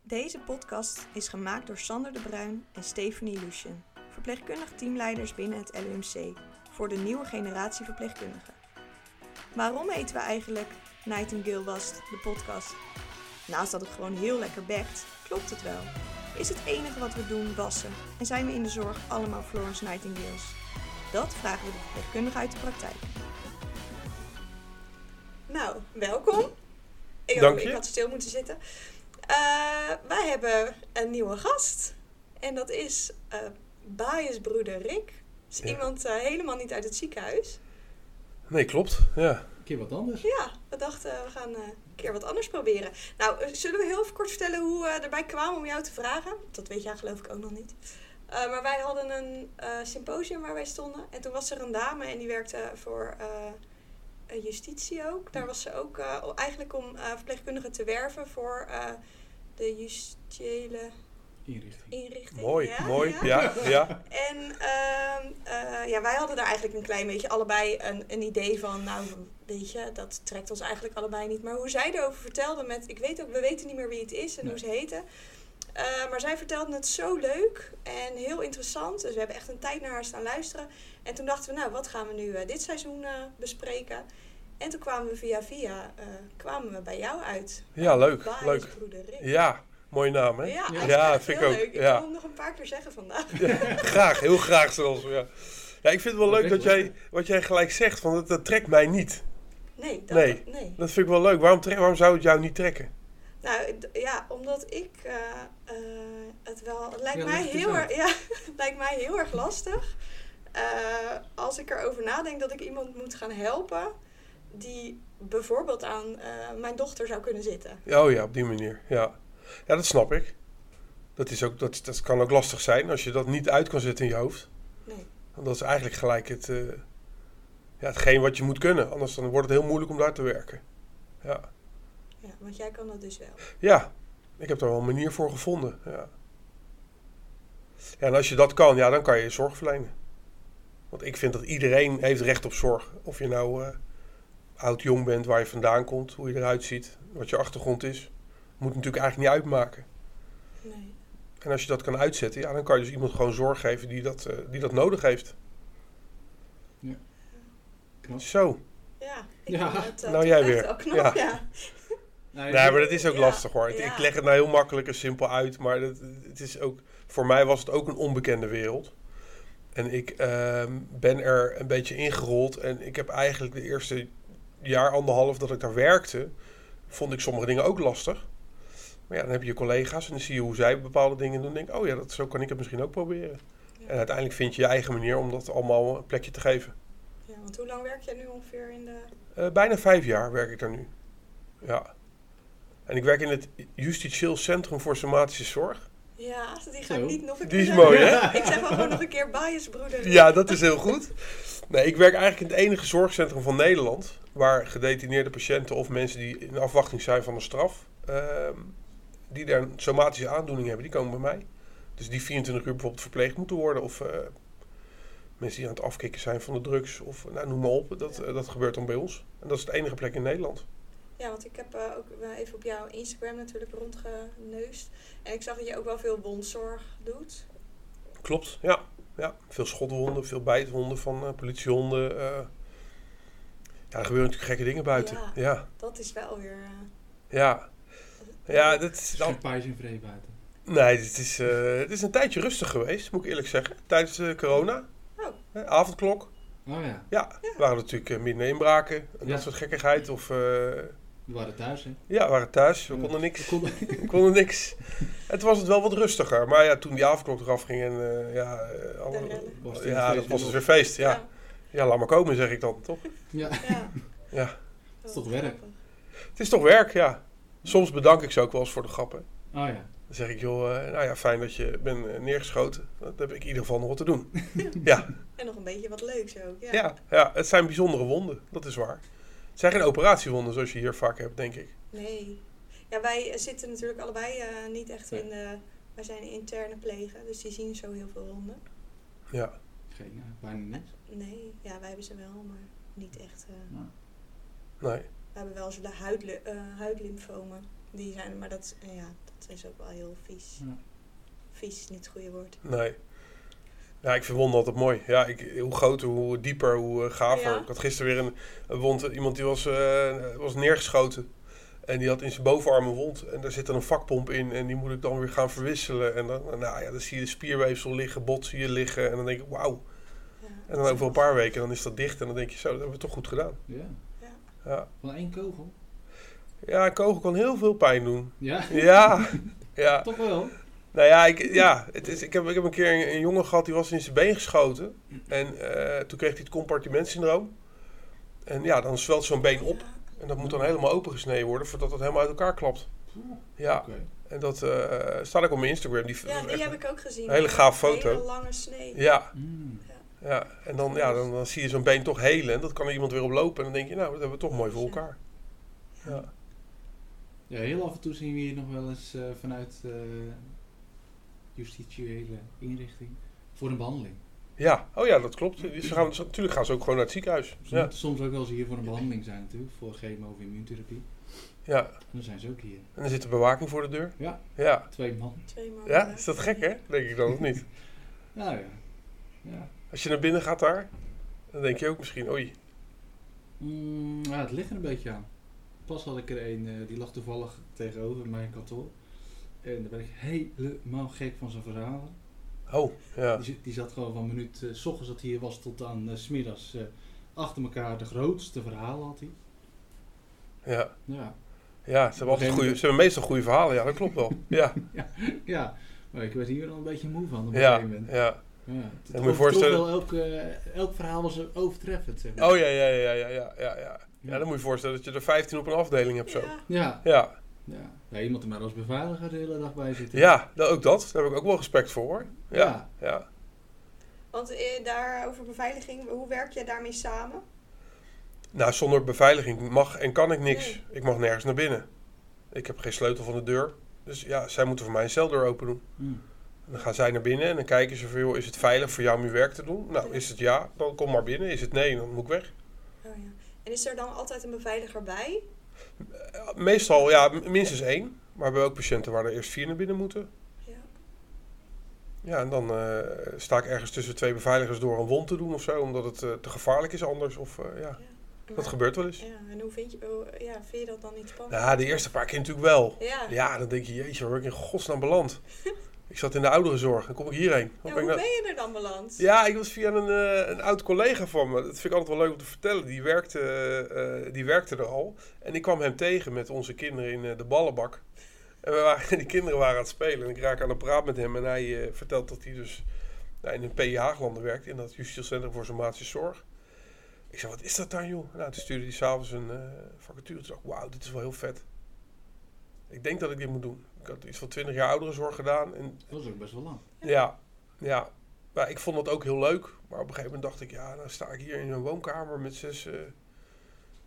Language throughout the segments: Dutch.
Deze podcast is gemaakt door Sander de Bruin en Stephanie Lucien, verpleegkundig teamleiders binnen het LUMC, voor de nieuwe generatie verpleegkundigen. Waarom heten we eigenlijk Nightingale Wast, de podcast? Naast dat het gewoon heel lekker bekt, klopt het wel. Is het enige wat we doen wassen en zijn we in de zorg allemaal Florence Nightingales? Dat vragen we de verpleegkundige uit de praktijk. Nou, welkom. Ik, Dank ik je. had stil moeten zitten. Eh, wij hebben een nieuwe gast. En dat is eh Baaiensbroeder Rick. Dat is Ja. iemand eh, helemaal niet uit het ziekenhuis. Nee, klopt. Ja. Een keer wat anders. Ja, we dachten we gaan eh, een keer wat anders proberen. Nou, eh, zullen we heel even kort vertellen hoe we erbij kwamen om jou te vragen? Dat weet jij geloof ik ook nog niet. Eh, maar wij hadden een eh, symposium waar wij stonden. En toen was er een dame en die werkte voor eh, eh, justitie ook. Daar was ze ook eh, o- eigenlijk om eh, verpleegkundigen te werven voor eh, de justitiële Inrichting. inrichting. Mooi, Ja, mooi. ja. Ja, ja. En ehm, eh, ja, wij hadden daar eigenlijk een klein beetje allebei een, een idee van. Nou, weet je, dat trekt ons eigenlijk allebei niet. Maar hoe zij erover vertelde met, ik weet ook, we weten niet meer wie het is en Nee. hoe ze heten. Eh, maar zij vertelde het zo leuk en heel interessant. Dus we hebben echt een tijd naar haar staan luisteren. En toen dachten we, nou, wat gaan we nu eh, dit seizoen eh, bespreken? En toen kwamen we via via eh, kwamen we bij jou uit. Ja, leuk. Baas Leuk. Broeder Rick. Ja, mooie naam, hè? Ja, hij is Ja, echt vind ik heel ook, leuk. Ik ja. wil hem nog een paar keer zeggen vandaag. graag, heel graag zelfs. Ja. ja, ik vind het wel Dat leuk dat weet ik jij, wat jij gelijk zegt, want dat, dat trekt mij niet. Nee, dat, Nee. nee. Dat vind ik wel leuk. Waarom, tre- waarom zou het jou niet trekken? Nou d- ja, omdat ik eh, eh, het wel. Het lijkt, Ja, mij leg het eens heel uit. erg, ja, het lijkt mij heel erg lastig. eh, als ik erover nadenk dat ik iemand moet gaan helpen. die bijvoorbeeld aan eh, mijn dochter zou kunnen zitten. Ja, Oh ja, op die manier. Ja, ja dat snap ik. Dat, is ook, dat, dat kan ook lastig zijn als je dat niet uit kan zetten in je hoofd. Nee. Want dat is eigenlijk gelijk het, eh, ja, hetgeen wat je moet kunnen. Anders dan wordt het heel moeilijk om daar te werken. Ja. Ja, want jij kan dat dus wel. Ja, ik heb daar wel een manier voor gevonden. Ja. ja, en als je dat kan, ja, dan kan je zorg verlenen. Want ik vind dat iedereen heeft recht op zorg. Of je nou eh, oud, jong bent, waar je vandaan komt, hoe je eruit ziet, wat je achtergrond is. Moet natuurlijk eigenlijk niet uitmaken. Nee. En als je dat kan uitzetten, ja, dan kan je dus iemand gewoon zorg geven die dat, eh, die dat nodig heeft. Knap. Zo. Ja, ik Ja. vind het eh, Nou, toch jij echt weer. wel knap, ja. Ja. Nee, Nee, maar dat is ook Ja, lastig hoor. Ik- ja. Ik leg het nou heel makkelijk en simpel uit, maar dat, het is ook, voor mij was het ook een onbekende wereld. En ik ehm, ben er een beetje ingerold en ik heb eigenlijk de eerste jaar, anderhalf dat ik daar werkte, vond ik sommige dingen ook lastig. Maar ja, dan heb je collega's en dan zie je hoe zij bepaalde dingen doen. En denk ik, oh ja, dat, zo kan ik het misschien ook proberen. Ja. En uiteindelijk vind je je eigen manier om dat allemaal een plekje te geven. Ja, want hoe lang werk jij nu ongeveer in de. Eh, bijna vijf jaar werk ik daar nu. Ja. En ik werk in het Justitieel Centrum voor Somatische Zorg. Ja, die ga ik Zo. niet nog een Die is keer zeggen. mooi, hè? Ik zeg wel gewoon nog een keer biasbroeder. Ja, dat is heel goed. Nee, ik werk eigenlijk in het enige zorgcentrum van Nederland... waar gedetineerde patiënten of mensen die in afwachting zijn van een straf... ehm, die daar een somatische aandoening hebben, die komen bij mij. Dus die 24 uur bijvoorbeeld verpleegd moeten worden... of eh, mensen die aan het afkicken zijn van de drugs of nou, noem maar op. Dat, eh, dat gebeurt dan bij ons. En dat is het enige plek in Nederland. Ja, want ik heb eh, ook eh, even op jouw Instagram natuurlijk rondgeneust. En ik zag dat je ook wel veel bondzorg doet. Klopt, ja. ja. Veel schotwonden, veel bijtwonden van eh, politiehonden. eh. Ja, er gebeuren natuurlijk gekke dingen buiten. Ja. Ja, Dat is wel weer... eh, ja. Ja, dat is dan... Geen paars en vree buiten. Nee, dit is, eh, het is een tijdje rustig geweest, moet ik eerlijk zeggen. Tijdens eh, corona. Oh. Hè, avondklok. Oh ja, Ja, Ja. waren natuurlijk eh, minder inbraken. En Ja. dat soort gekkigheid. Of, eh, we waren thuis hè. ja, we waren thuis. We Ja. konden niks. Konden- We konden niks. En toen was het wel wat rustiger. Maar ja, toen die avondklok eraf ging en eh, ja... eh, alle- rellen. Was het ja, weer dat feest was en dus weer feest. Ja. Ja. ja, laat maar komen, zeg ik dan, toch? Ja, ja. Ja. Dat is toch wel werk? grappig. Het is toch werk, ja. Soms bedank ik ze ook wel eens voor de grappen. oh ja. Dan zeg ik, joh, eh, nou ja, fijn dat je bent eh, neergeschoten. Dat heb ik in ieder geval nog wat te doen. ja, En nog een beetje wat leuks ook. Ja. ja. ja, het zijn bijzondere wonden, dat is waar. Het zijn geen operatiewonden zoals je hier vaak hebt, denk ik. Nee. Ja, wij eh, zitten natuurlijk allebei eh, niet echt Nee. in de... Wij zijn interne plegen, dus die zien zo heel veel honden. Ja, Geen, eh, bijna niks. Nee, ja, wij hebben ze wel, maar niet echt... eh, Nou, nee. we hebben wel eens de huidle- eh, huidlymfomen. Die zijn, maar dat, is- ja, dat is ook wel heel vies. Ja. Vies is niet het goede woord. Nee. Ja, ik vind wonden altijd mooi. Ja, ik, hoe groter, hoe dieper, hoe eh, gaver. Ja. Ik had gisteren weer een, een wond. Iemand die was, eh, was neergeschoten. En die had in zijn bovenarm een wond. En daar zit dan een vakpomp in. En die moet ik dan weer gaan verwisselen. En dan, nou ja, dan zie je de spierweefsel liggen, bot zie je liggen. En dan denk ik, wauw. Ja, En dan over een paar weken, dan is dat dicht. En dan denk je, zo, dat hebben we toch goed gedaan. Ja. Ja, Van één kogel? ja een kogel kan heel veel pijn doen. Ja, Ja, ja. toch wel. Nou ja, ik, ja het is, ik, heb, ik heb een keer een, een jongen gehad die was in zijn been geschoten. En eh, toen kreeg hij het compartimentsyndroom. En ja, dan zwelt zo'n been op. En dat moet dan helemaal opengesneden worden voordat het helemaal uit elkaar klapt. Oeh, Ja, Oké. en dat eh, staat ook op mijn Instagram. Die, Ja, die heb ik ook gezien. Een hele gave Een hele foto. lange snee. Ja, Mm. ja. en dan, ja, dan, dan zie je zo'n been toch helen. En dat kan er iemand weer op lopen. En dan denk je, nou, dat hebben we toch mooi voor elkaar. Ja, Ja, heel af en toe zien we hier nog wel eens eh, vanuit eh justitiële inrichting voor een behandeling. ja. oh ja, dat klopt. Ze gaan, ze- natuurlijk gaan ze ook gewoon naar het ziekenhuis. Ze Ja, moeten soms ook wel eens hier voor een behandeling zijn natuurlijk, voor chemo of immuuntherapie. ja. En dan zijn ze ook hier. En er zit de bewaking voor de deur. Ja. Ja, Twee man. Twee man. ja. is dat gek hè? Denk ik dan of niet? Nou ja. Ja. Als je naar binnen gaat daar, dan denk je ook misschien, oei. Mm, ja, het ligt er een beetje aan. Pas had ik er een, eh, die lag toevallig tegenover mijn kantoor. En daar ben ik helemaal gek van zijn verhalen. Oh, ja. Die, zi- die zat gewoon van minuut, eh, s ochtends dat hij hier was tot aan eh, s smiddags eh, achter elkaar de grootste verhalen had hij. Ja, Ja. ja ze, hebben altijd goede, ze hebben meestal goede verhalen. Ja, dat klopt wel. Ja, ja, maar ik werd hier al een beetje moe van op een ja, gegeven moment. ja. Ja. Het je overtrof voorstellen- wel elk, eh, elk verhaal was overtreffend, zeg maar. Oh ja, ja, ja, ja, ja, ja, ja. Ja, dan moet je voorstellen dat je er 15 op een afdeling hebt zo. Ja. ja. Ja, ja. ja, je moet er maar als beveiliger de hele dag bij zitten. ja, nou, ook dat. Daar heb ik ook wel respect voor hoor. Ja, Ja. ja. Want eh, daar over beveiliging, hoe werk jij daarmee samen? Nou, zonder beveiliging mag en kan ik niks. Nee. Ik mag nergens naar binnen. Ik heb geen sleutel van de deur. Dus ja, zij moeten voor mij een celdeur open doen. Hm. Dan gaan zij naar binnen en dan kijken ze van, joh, is het veilig voor jou om je werk te doen? Nou, is het ja, dan kom maar binnen. Is het nee, dan moet ik weg. Oh, ja. En is er dan altijd een beveiliger bij? Eh, Meestal, ja, m- minstens één. Maar we hebben ook patiënten waar er eerst vier naar binnen moeten. Ja. Ja, en dan eh, sta ik ergens tussen twee beveiligers door een wond te doen of zo, omdat het eh, te gevaarlijk is anders. Of eh, ja, dat Maar- gebeurt wel eens. Ja, en hoe vind je, hoe- ja, vind je dat dan niet spannend? Ja, de eerste paar keer natuurlijk wel. Ja. Ja, dan denk je, jeetje, waar ben ik in godsnaam beland? Ik zat in de ouderenzorg, dan kom ik hierheen. Ja, Hoe ben hoe ik nou- ben je er dan beland? Ja, ik was via een, eh, een oud collega van me. Dat vind ik altijd wel leuk om te vertellen. Die werkte, eh, eh, die werkte er al. En ik kwam hem tegen met onze kinderen in eh, de ballenbak. En we waren, die kinderen waren aan het spelen. En ik raak aan de praat met hem. En hij eh, vertelt dat hij dus nou, in een PJ Haaglanden werkt. In dat Justitieel Centrum voor Somatische Zorg. Ik zei, wat is dat dan, joh? Nou, toen stuurde hij s'avonds een eh, vacature. Toen dacht ik, wauw, dit is wel heel vet. Ik denk dat ik dit moet doen. Ik had iets van 20 jaar ouderenzorg gedaan. En Dat is ook best wel lang. ja, ja. Maar ik vond dat ook heel leuk. Maar op een gegeven moment dacht ik, ja, dan sta ik hier in een woonkamer met zes eh,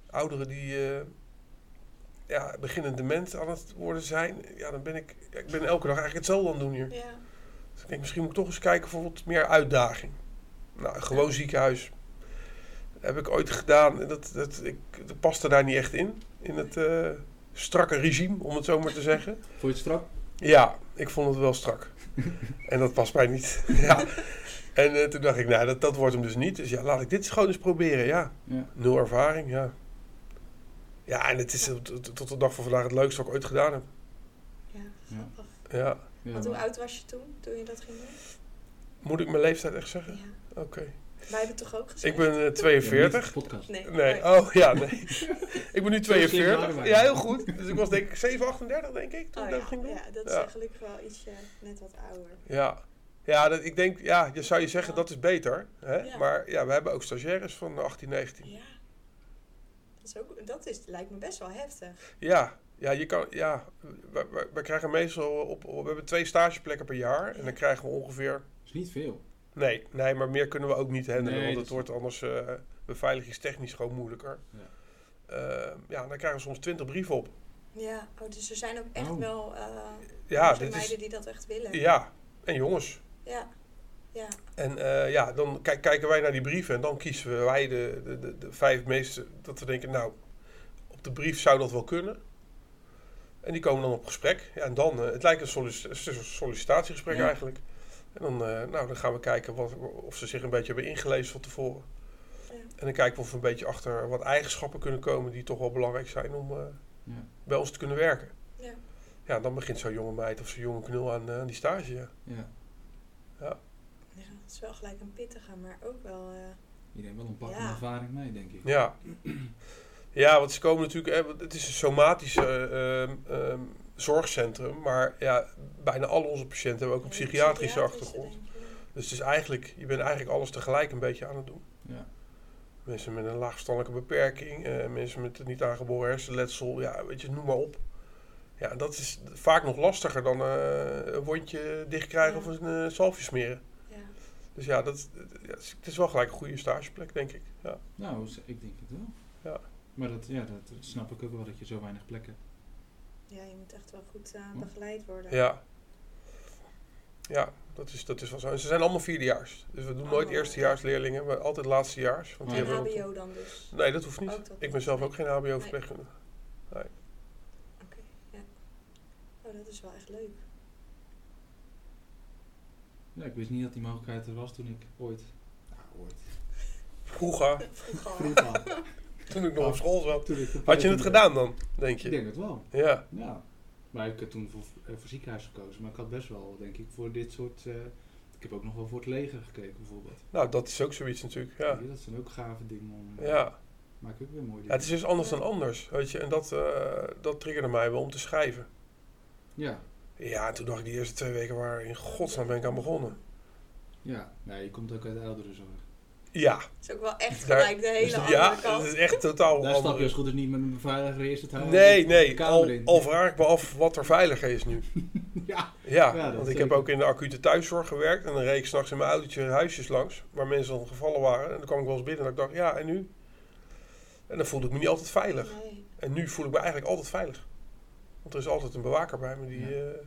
ouderen die eh, ja, beginnend dement aan het worden zijn. Ja, dan ben ik, ja, ik ben elke dag eigenlijk hetzelfde aan het doen hier. Ja. Dus ik denk, misschien moet ik toch eens kijken voor wat meer uitdaging. Nou, een gewoon ziekenhuis. heb ik ooit gedaan. En Dat, dat, ik, dat paste daar niet echt in. In het eh, strakke regime, om het zo maar te zeggen. Vond je het strak? Ja, ik vond het wel strak. en dat past mij niet. ja. En eh, toen dacht ik, nou, dat, dat wordt hem dus niet. Dus ja, laat ik dit gewoon eens proberen. Ja, Ja. nul ervaring, ja. Ja, en het is tot- tot tot de dag van vandaag het leukste wat ik ooit gedaan heb. Ja, Ja. grappig. Ja. Ja, Want hoe maar- oud was je toen, toen je dat ging doen? Moet ik mijn leeftijd echt zeggen? Ja. Oké. Wij hebben toch ook gezegd? Ik ben eh, Ja, maar niet 42. voor de podcast. Nee. Nee, maar- oh ja, nee. ik ben nu waren 42. wij. Ja, heel goed. Dus ik was denk ik 7, 38 denk ik toen Oh ik dat ging ja, doen. ja, dat is Ja. eh, gelukkig wel ietsje net wat ouder. Ja, ja dat, ik denk, ja, je zou je zeggen dat is beter. Hè? Ja. Maar ja, we hebben ook stagiaires van 18, 19. Ja. Dat, is ook, dat is, lijkt me best wel heftig. Ja, ja, je kan, ja we, we- we krijgen meestal op, op- we hebben twee stageplekken per jaar. En dan krijgen we ongeveer, Dat is niet veel. nee, nee maar meer kunnen we ook niet handelen. want Nee, dat het is- wordt anders eh, beveiligingstechnisch gewoon moeilijker. Ja. Eh, ja, dan krijgen we soms 20 brieven op. Ja, oh, dus er zijn ook echt Oh. wel eh Ja, zijn dit meiden eh, is, die dat echt willen. ja, en jongens. Ja. Ja. En eh, ja, dan kijk- kijken wij naar die brieven en dan kiezen we wij de, de, de, de vijf meeste. Dat we denken, nou, op de brief zou dat wel kunnen. En die komen dan op gesprek. Ja, en dan, eh, het lijkt een sollic- een sollicitatiegesprek Ja. eigenlijk. En dan, eh, nou, dan gaan we kijken wat, of ze zich een beetje hebben ingelezen van tevoren. Ja. En dan kijken we of we een beetje achter wat eigenschappen kunnen komen die toch wel belangrijk zijn om eh, Ja. bij ons te kunnen werken. Ja. Ja, dan begint zo'n jonge meid of zo'n jonge knul aan, eh, aan die stage. Ja. Ja, Ja, het is wel gelijk een pittige, maar ook wel... eh, je neemt wel een pak Ja. ervaring mee, denk ik. Ja. Ja, want ze komen natuurlijk, hè, want het is een somatisch eh, ehm, ehm, zorgcentrum, maar ja, bijna al onze patiënten hebben ook een ja, psychiatrische psychiatrische, achtergrond. denk ik, ja. Dus het is eigenlijk, je bent eigenlijk alles tegelijk een beetje aan het doen. Ja. Mensen met een laagstandelijke beperking, eh, mensen met een niet aangeboren hersenletsel, ja, weet je, noem maar op. Ja, dat is vaak nog lastiger dan eh, een wondje dichtkrijgen Ja. of een eh, zalfje smeren. Ja. Dus ja, dat, ja, het is wel gelijk een goede stageplek, denk ik. Ja. Nou, z- ik denk het wel. Ja. Maar dat, ja, dat snap ik ook wel, dat je zo weinig plekken hebt. ja, je moet echt wel goed eh, Hm? begeleid worden. Ja. Ja, dat is, dat is wel zo. En ze zijn allemaal vierdejaars. Dus we doen nooit Oh. eerstejaarsleerlingen, maar altijd laatstejaars. Want die Geen Ja. hebben ook- HBO dan dus. Nee, dat hoeft niet. Ook dat ik ben niet. zelf ook geen HBO-verpleegkundige. Oké, ja. Oh, dat is wel echt leuk. Ja, ik wist niet dat die mogelijkheid er was toen ik ooit... Nou, ooit. Vroeger, Vroeger al. Vroeg al. toen ik nog op school zat. Toen ik Had je verpleegkunde- het gedaan dan, denk Ik je? denk het wel. Oh. Ja, Ja, maar ik heb toen voor, eh, voor ziekenhuis gekozen. Maar ik had best wel, denk ik, voor dit soort... eh, ik heb ook nog wel voor het leger gekeken, bijvoorbeeld. nou dat is ook zoiets natuurlijk. Ja, Weet je, dat zijn ook gave dingen om... eh, ja. Maak ik ook weer mooi ja het is dus anders dan Ja. anders. Weet je? En dat, eh, dat triggerde mij wel om te schrijven. Ja, Ja, en toen dacht ik die eerste twee weken waar in godsnaam ben ik aan begonnen. ja. Nee, je komt ook uit de ouderenzorg. Ja, Het is ook wel echt Daar- dus gelijk de hele andere ja kant. het is echt totaal Daar stap Nou, je anders. als goed is niet met een beveiliger eerst het huis. Nee, de nee. kamer Al, in. al vraag ik me af wat er veiliger is nu. Ja. Ja, Ja, dat want ik zeker. heb ook in de acute thuiszorg gewerkt. En dan reed ik s'nachts in mijn autootje huisjes langs. Waar mensen dan gevallen waren. En dan kwam ik wel eens binnen en ik dacht, ja, en nu? En dan voelde ik me niet altijd veilig. Nee. En nu voel ik me eigenlijk altijd veilig. Want er is altijd een bewaker bij me die, Ja. eh,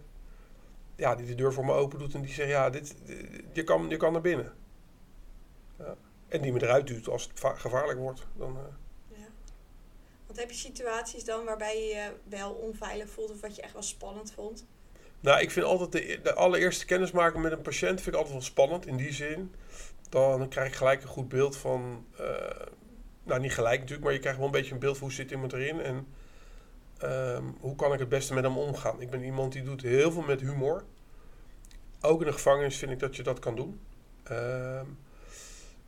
ja, die de deur voor me open doet. En die zegt, ja, dit, dit- je, kan, je kan naar binnen. Ja. En die me eruit duwt als het va- gevaarlijk wordt. Dan, eh, Ja. Want heb je situaties dan waarbij je je wel onveilig voelt of wat je echt wel spannend vond? Nou, ik vind altijd de, de allereerste kennismaking met een patiënt vind ik altijd wel spannend. In die zin, dan krijg ik gelijk een goed beeld van... eh, nou, niet gelijk natuurlijk, maar je krijgt wel een beetje een beeld van hoe zit iemand erin. En ehm, hoe kan ik het beste met hem omgaan. Ik ben iemand die doet heel veel met humor. Ook in de gevangenis vind ik dat je dat kan doen. Ehm,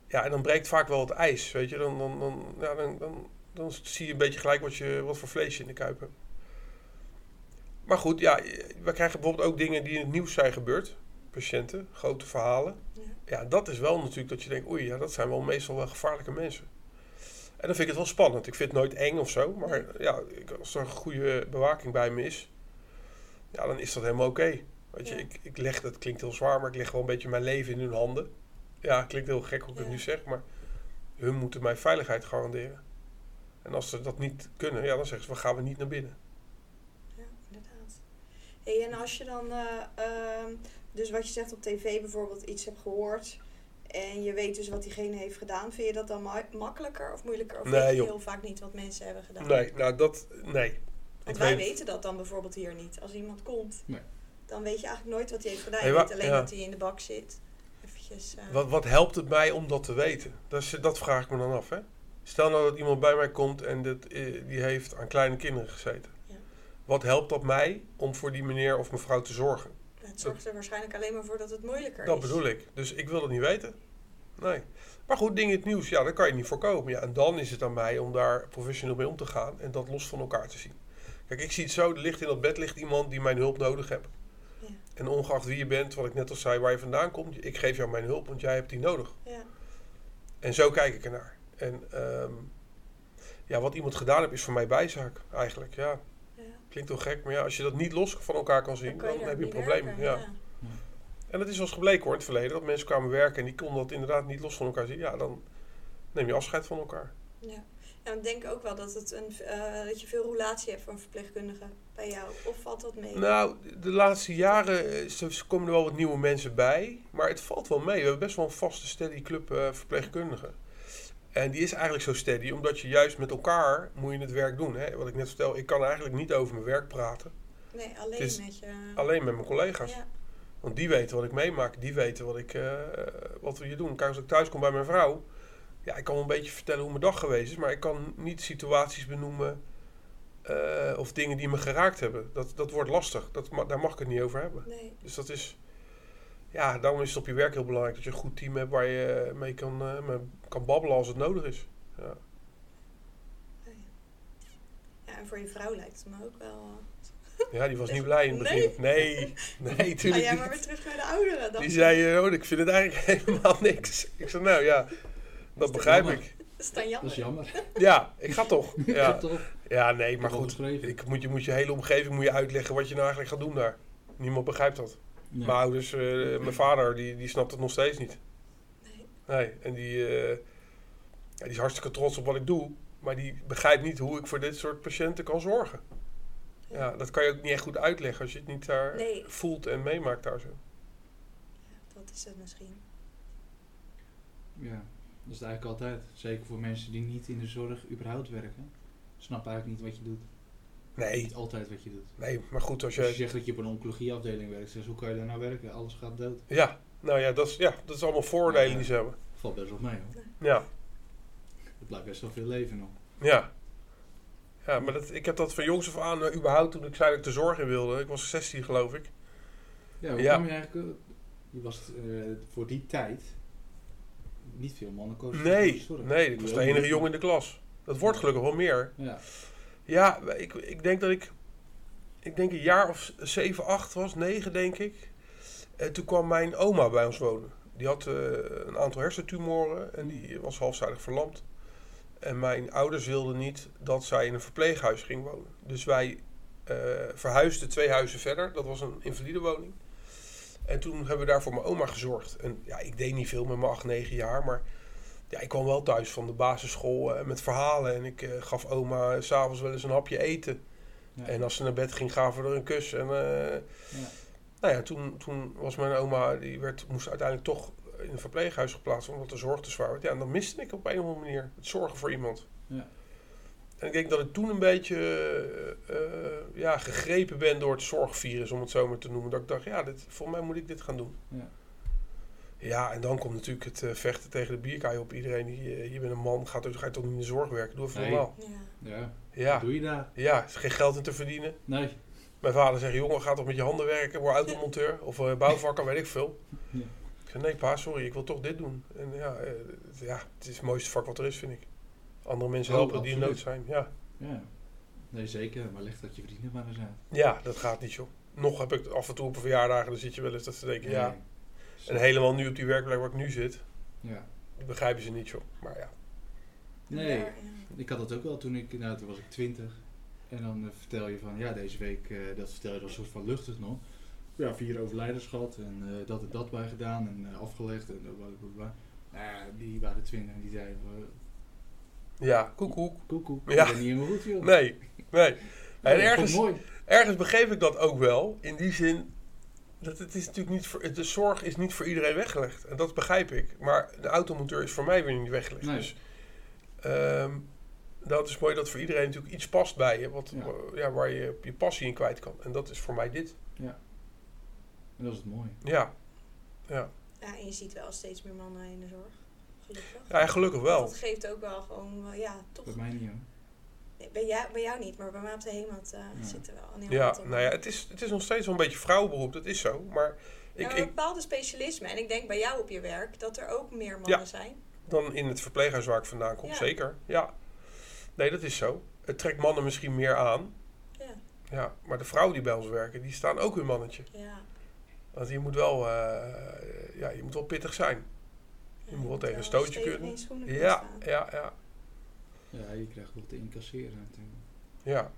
ja, en dan breekt vaak wel het ijs, weet je. Dan, dan, dan, ja, dan, dan, dan zie je een beetje gelijk wat, je, wat voor vlees je in de kuip hebt. Maar goed, ja, we krijgen bijvoorbeeld ook dingen die in het nieuws zijn gebeurd. Patiënten, grote verhalen. Ja. Ja, dat is wel natuurlijk dat je denkt, oei, ja, dat zijn wel meestal wel gevaarlijke mensen. En dan vind ik het wel spannend. Ik vind het nooit eng of zo, maar ja, ik- als er een goede bewaking bij me is, ja, dan is dat helemaal oké. Weet je, Ja. ik, ik leg, dat klinkt heel zwaar, maar ik leg wel een beetje mijn leven in hun handen. Ja, het klinkt heel gek hoe ik het Ja. nu zeg, maar hun moeten mij veiligheid garanderen. En als ze dat niet kunnen, ja, dan zeggen ze, we gaan we niet naar binnen. Ja, inderdaad. Hey, en als je dan, eh, ehm, dus wat je zegt op tv bijvoorbeeld, iets hebt gehoord en je weet dus wat diegene heeft gedaan, vind je dat dan ma- makkelijker of moeilijker? Of Nee, weet je joh. heel vaak niet wat mensen hebben gedaan? Nee, nou dat, nee. Want Ik wij weet- weten dat dan bijvoorbeeld hier niet. Als iemand komt, Nee. dan weet je eigenlijk nooit wat hij heeft gedaan. Hey, je wa- weet alleen ja. dat hij in de bak zit. Eventjes, eh, Wat, wat helpt het mij om dat te weten? Dat, is, dat vraag ik me dan af. Hè? Stel nou dat iemand bij mij komt en dit, eh, die heeft aan kleine kinderen gezeten. Ja. Wat helpt dat mij om voor die meneer of mevrouw te zorgen? het zorgt er waarschijnlijk alleen maar voor dat het moeilijker Dat is. bedoel ik. Dus ik wil dat niet weten. Nee. Maar goed, dingen in het nieuws, ja, dat kan je niet voorkomen. Ja, en dan is het aan mij om daar professioneel mee om te gaan en dat los van elkaar te zien. Kijk, ik zie het zo, er ligt in dat bed ligt iemand die mijn hulp nodig heeft. Ja. En ongeacht wie je bent, wat ik net al zei, waar je vandaan komt, ik geef jou mijn hulp, want jij hebt die nodig. Ja, En zo kijk ik ernaar. En ehm, ja, wat iemand gedaan heeft, is voor mij bijzaak eigenlijk. Ja, ja. klinkt heel gek, maar ja, als je dat niet los van elkaar kan zien, Dan dan, kan je daar heb je een niet probleem. werken, ja. En dat is wel eens gebleken hoor, in het verleden, dat mensen kwamen werken en die konden dat inderdaad niet los van elkaar zien. Ja, dan neem je afscheid van elkaar. Ja. ja, ik denk ook wel dat, het een, eh, dat je veel relatie hebt van verpleegkundigen bij jou. Of valt dat mee? Nou, de laatste jaren eh, ze- ze komen er wel wat nieuwe mensen bij, maar het valt wel mee. We hebben best wel een vaste, steady club eh, verpleegkundigen. En die is eigenlijk zo steady, omdat je juist met elkaar moet je het werk doen. Hè? Wat ik net vertel, ik kan eigenlijk niet over mijn werk praten. Nee, alleen Het is met je... Alleen met mijn collega's. Ja. Want die weten wat ik meemaak. Die weten wat, ik, eh, wat we hier doen. Kijk, als ik thuis kom bij mijn vrouw. Ja, ik kan wel een beetje vertellen hoe mijn dag geweest is. Maar ik kan niet situaties benoemen. eh, of dingen die me geraakt hebben. Dat, dat wordt lastig. Dat, ma- daar mag ik het niet over hebben. Nee, Dus dat is. Ja, daarom is het op je werk heel belangrijk. Dat je een goed team hebt waar je mee kan, eh, mee kan babbelen als het nodig is. ja, en voor je vrouw lijkt het me ook wel... eh, Ja, die was niet blij in het begin. Nee, nee, Ga tuurlijk jij niet. Ah, maar weer terug naar de ouderen dan? Die zei, eh, oh, ik vind het eigenlijk helemaal niks. Ik zei, nou ja, dat toch begrijp jammer? ik. Dat is dan jammer. Dat is jammer. Ja, ik ga toch. Ja, Ja, toch? ja nee, maar Wel goed. beschreven. Ik moet, je moet je hele omgeving moet je uitleggen wat je nou eigenlijk gaat doen daar. Niemand begrijpt dat. Nee. Mijn ouders, eh, mijn vader, die, die snapt het nog steeds niet. Nee. Nee, en die, eh, ja, die is hartstikke trots op wat ik doe. Maar die begrijpt niet hoe ik voor dit soort patiënten kan zorgen. Ja, dat kan je ook niet echt goed uitleggen als je het niet daar Nee. voelt en meemaakt daar zo. Dat is het misschien. Ja, dat is het eigenlijk altijd. Zeker voor mensen die niet in de zorg überhaupt werken. Snap eigenlijk niet wat je doet. Nee, Niet altijd wat je doet. nee, maar goed, als Als je je... zegt dat je op een oncologieafdeling werkt, zeg, hoe kan je daar nou werken? Alles gaat dood. Ja, nou ja, dat is, ja, dat is allemaal voordelen die ze hebben. Valt best wel mee hoor. Ja, Het blijft best wel veel leven nog. ja. Ja, maar dat, ik heb dat van jongs af aan, eh, überhaupt toen ik zei dat ik de zorg in wilde. Ik was 16 geloof ik. Ja, hoe Ja. kwam je eigenlijk... eh, Je was eh, voor die tijd niet veel mannen kozen voor de Nee, zorg. nee, ik was de enige jongen in de klas. Dat wordt gelukkig wel meer. Ja, Ja, ik, ik denk dat ik. Ik denk een jaar of 7, 8 was, 9 denk ik. En toen kwam mijn oma bij ons wonen. Die had eh, een aantal hersentumoren en die was halfzijdig verlamd. En mijn ouders wilden niet dat zij in een verpleeghuis ging wonen. Dus wij eh, verhuisden twee huizen verder. Dat was een invalide woning. En toen hebben we daar voor mijn oma gezorgd. En ja, ik deed niet veel met mijn 8, 9 jaar, maar ja, ik kwam wel thuis van de basisschool eh, met verhalen. En ik eh, gaf oma s'avonds wel eens een hapje eten. ja. En als ze naar bed ging, gaven we er een kus. En eh, Ja. nou ja, toen, toen was mijn oma, die werd, moest uiteindelijk toch in een verpleeghuis geplaatst omdat de zorg te zwaar werd. Ja, en dat miste ik op een of andere manier. Het zorgen voor iemand. Ja. En ik denk dat ik toen een beetje eh, eh, ja, gegrepen ben door het zorgvirus, om het zo maar te noemen. Dat ik dacht, ja, dit, volgens mij moet ik dit gaan doen. Ja. Ja, en dan komt natuurlijk het eh, vechten tegen de bierkaai op iedereen. die, eh, je bent een man, gaat, ga je toch niet in de zorg werken? Doe even Nee. normaal. Ja. Ja, wat Ja. doe je daar? ja, er is geen geld in te verdienen. Nee. Mijn vader zegt, jongen, ga toch met je handen werken, word automonteur of eh, bouwvakker, weet ik veel. Ja. Ik zeg, nee pa, sorry, ik wil toch dit doen. En ja, eh, het- ja, het is het mooiste vak wat er is, vind ik. Andere mensen Oh, helpen die in nood absoluut. zijn. Ja. Ja. Nee, zeker. Maar leg dat je vrienden maar eens uit. ja, dat gaat niet, joh. Nog heb ik af en toe op een verjaardagen, dan zit je wel eens dat ze denken, ja. Nee. En helemaal nu op die werkplek waar ik nu zit, Ja. dat begrijpen ze niet, joh. Maar ja, Nee. Daar, ja. Ik had dat ook wel toen ik, nou toen was ik twintig. En dan eh, vertel je van, ja deze week, eh, dat vertel je dan soort van luchtig nog. Ja, vier overlijdens gehad en eh, dat en dat bij gedaan en eh, afgelegd en blablabla. Nou, die waren twintig en die zeiden van, ja, koekoek. koekoek, Ja. dat is niet helemaal goed joh. Nee, nee. Nee, En dat ergens, vond ik mooi. ergens begreep ik dat ook wel. In die zin dat het is natuurlijk niet voor, de zorg is niet voor iedereen weggelegd. En dat begrijp ik. Maar de automonteur is voor mij weer niet weggelegd. Nee. Dus ehm, dat is mooi dat voor iedereen natuurlijk iets past bij je. Wat, Ja. wa- ja, waar je je passie in kwijt kan. En dat is voor mij dit. En dat is het mooie. Ja, Ja, en je ziet wel steeds meer mannen in de zorg. Gelukkig. ja en gelukkig wel. Dat geeft ook wel gewoon, eh, ja, toch. Bij mij niet hoor. Nee, Bij jou, bij jou niet, maar bij mij op de Hemat eh Ja. zitten wel een heel Ja, aantal nou ja, het is, het is nog steeds wel een beetje vrouwenberoep. Dat is zo. Maar Ja, ik, maar ik, bepaalde specialismen. En ik denk bij jou op je werk dat er ook meer mannen zijn. dan in het verpleeghuis waar ik vandaan kom. Ja. Zeker, ja. Nee, dat is zo. Het trekt mannen misschien meer aan. Ja. Ja, maar de vrouwen die bij ons werken, die staan ook hun mannetje. Ja. Want je moet wel, eh, ja, je moet wel pittig zijn. Ja, moet wel je tegen een wel stootje stevig kunnen. in je schoenen kunnen Ja, staan. ja, ja. Ja, je krijgt wat te incasseren natuurlijk. Ja,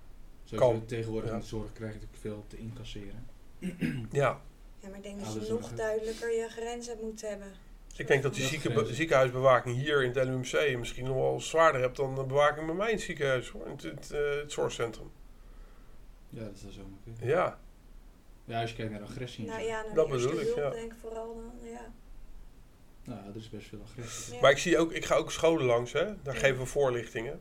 Sowieso Kan. tegenwoordig Ja. in de zorg krijg je natuurlijk veel te incasseren. ja. Ja, maar ik denk dat je Ouders nog zorgen. duidelijker je grenzen moet hebben. Ik denk dat die je Dat zieke, grenzen. ziekenhuisbewaking hier in het LUMC misschien nog wel zwaarder hebt dan de bewaking bij mij in het ziekenhuis, hoor. In het, het, eh, het zorgcentrum. Ja, dat is wel zomaar kunnen. Ja, Ja, als je kijkt naar agressie. en Nou zo. ja, naar Dat de eerste bedoel ik, hulp ja. denk ik vooral dan. Ja. Nou, er is best veel agressie. Ja. maar ik zie ook, ik ga ook scholen langs, hè. Daar Ja. geven we voorlichtingen.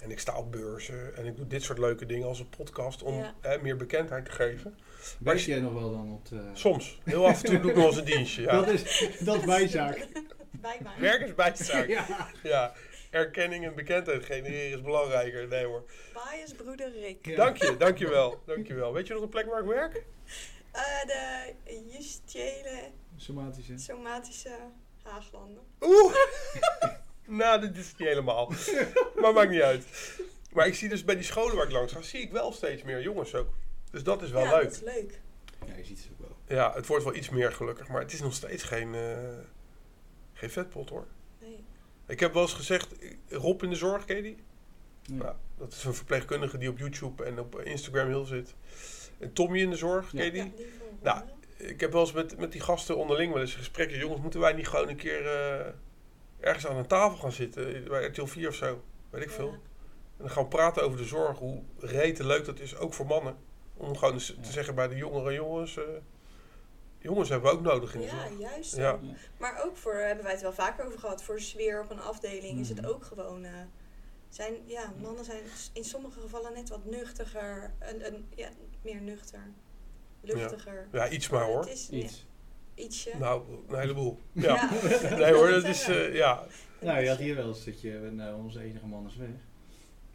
En ik sta op beurzen en ik doe dit soort leuke dingen als een podcast om Ja. hè, meer bekendheid te geven. Wijs jij nog wel dan op de... Soms. Heel af en toe doe ik nog eens een dienstje. Ja. Dat is, dat is bijzaak. Bijbaan. Werk is bijzaak. Ja. Ja. Erkenning en bekendheid genereren is belangrijker. Nee hoor. Bias broeder Rick. Ja. Dank je, dank je wel. Dank je wel. Weet je nog een plek waar ik werk? Eh, de justitiële Somatische. somatische haaglanden. Oeh! nou, dit is niet helemaal. Maar maakt niet uit. Maar ik zie dus bij die scholen waar ik langs ga, zie ik wel steeds meer jongens ook. Dus dat is wel ja, leuk. dat is leuk. Ja, je ziet ze ook wel. Ja, het wordt wel iets meer gelukkig, maar het is nog steeds geen, eh, geen vetpot hoor. Nee. Ik heb wel eens gezegd, Rob in de zorg, ken je die? Nee. Ja, dat is een verpleegkundige die op YouTube en op Instagram heel zit. En Tommy in de zorg, ken je die? Ja, die volgende. Nou, Ik heb wel eens met, met die gasten onderling wel eens gesprekken. Jongens, moeten wij niet gewoon een keer eh, ergens aan een tafel gaan zitten? Bij RTL 4 of zo, weet ik veel. Ja. En dan gaan we praten over de zorg, hoe rete leuk dat is, ook voor mannen. Om gewoon eens Ja. te zeggen bij de jongere jongens, eh, jongens hebben we ook nodig in de Ja, zorg. juist. Ja. Maar ook voor, eh, hebben wij het wel vaker over gehad, voor sfeer op een afdeling is het Mhm. ook gewoon. eh, zijn, ja, mannen zijn s- in sommige gevallen net wat nuchtiger. Een, een, ja, meer nuchter. Luchtiger. Ja, iets maar hoor. Het is iets. Iets. ietsje. Nou, een heleboel. Ja. Ja. Nee hoor, Dat dat is is, wel eh, ja. Nou, je had hier wel eens dat je, nou, onze enige man is weg.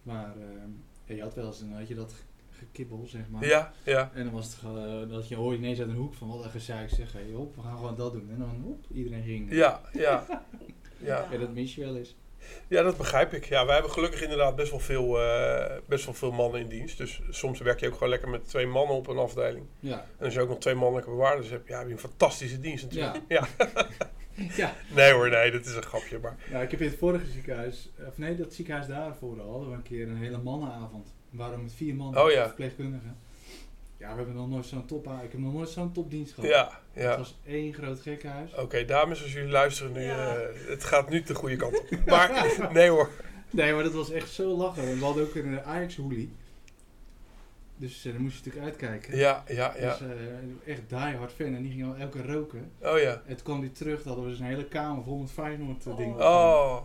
Maar ehm, je had wel eens, dan had je dat ge- gekibbel, zeg maar. Ja, ja. En dan was het gewoon, eh, dat je hoorde ineens uit een hoek van wat een gezeik zeg, hey, hop, we gaan gewoon dat doen. En dan hop, iedereen ging. Ja, ja. Ja. Ja, dat mis je wel eens. ja, dat begrijp ik. Ja, wij hebben gelukkig inderdaad best wel, veel, eh, best wel veel mannen in dienst. Dus soms werk je ook gewoon lekker met twee mannen op een afdeling. Ja. En als je ook nog twee mannelijke bewaarders hebt, ja, heb je een fantastische dienst natuurlijk. Ja. Ja. ja. Nee hoor, nee, dat is een grapje. Maar Nou, ik heb in het vorige ziekenhuis, eh, of nee, dat ziekenhuis daarvoor al, hadden we een keer een hele mannenavond. Waarom met vier mannen Oh ja. verpleegkundigen. Ja, we hebben nog nooit zo'n top, ik heb nog nooit zo'n topdienst gehad. ja, Het ja. Oh. was één groot gekkenhuis. Oké, dames, als jullie luisteren nu, Ja. eh, het gaat nu de goede kant op. Maar nee hoor. Nee, maar dat was echt zo lachen. En We hadden ook een eh, Ajax-hoelie. Dus eh, daar moest je natuurlijk uitkijken. Ja, ja, ja. Dus eh, echt diehard fan en die ging al elke keer roken. Oh ja. En toen kwam die terug, dan hadden we dus een hele kamer vol met Feyenoord eh, dingen. Oh.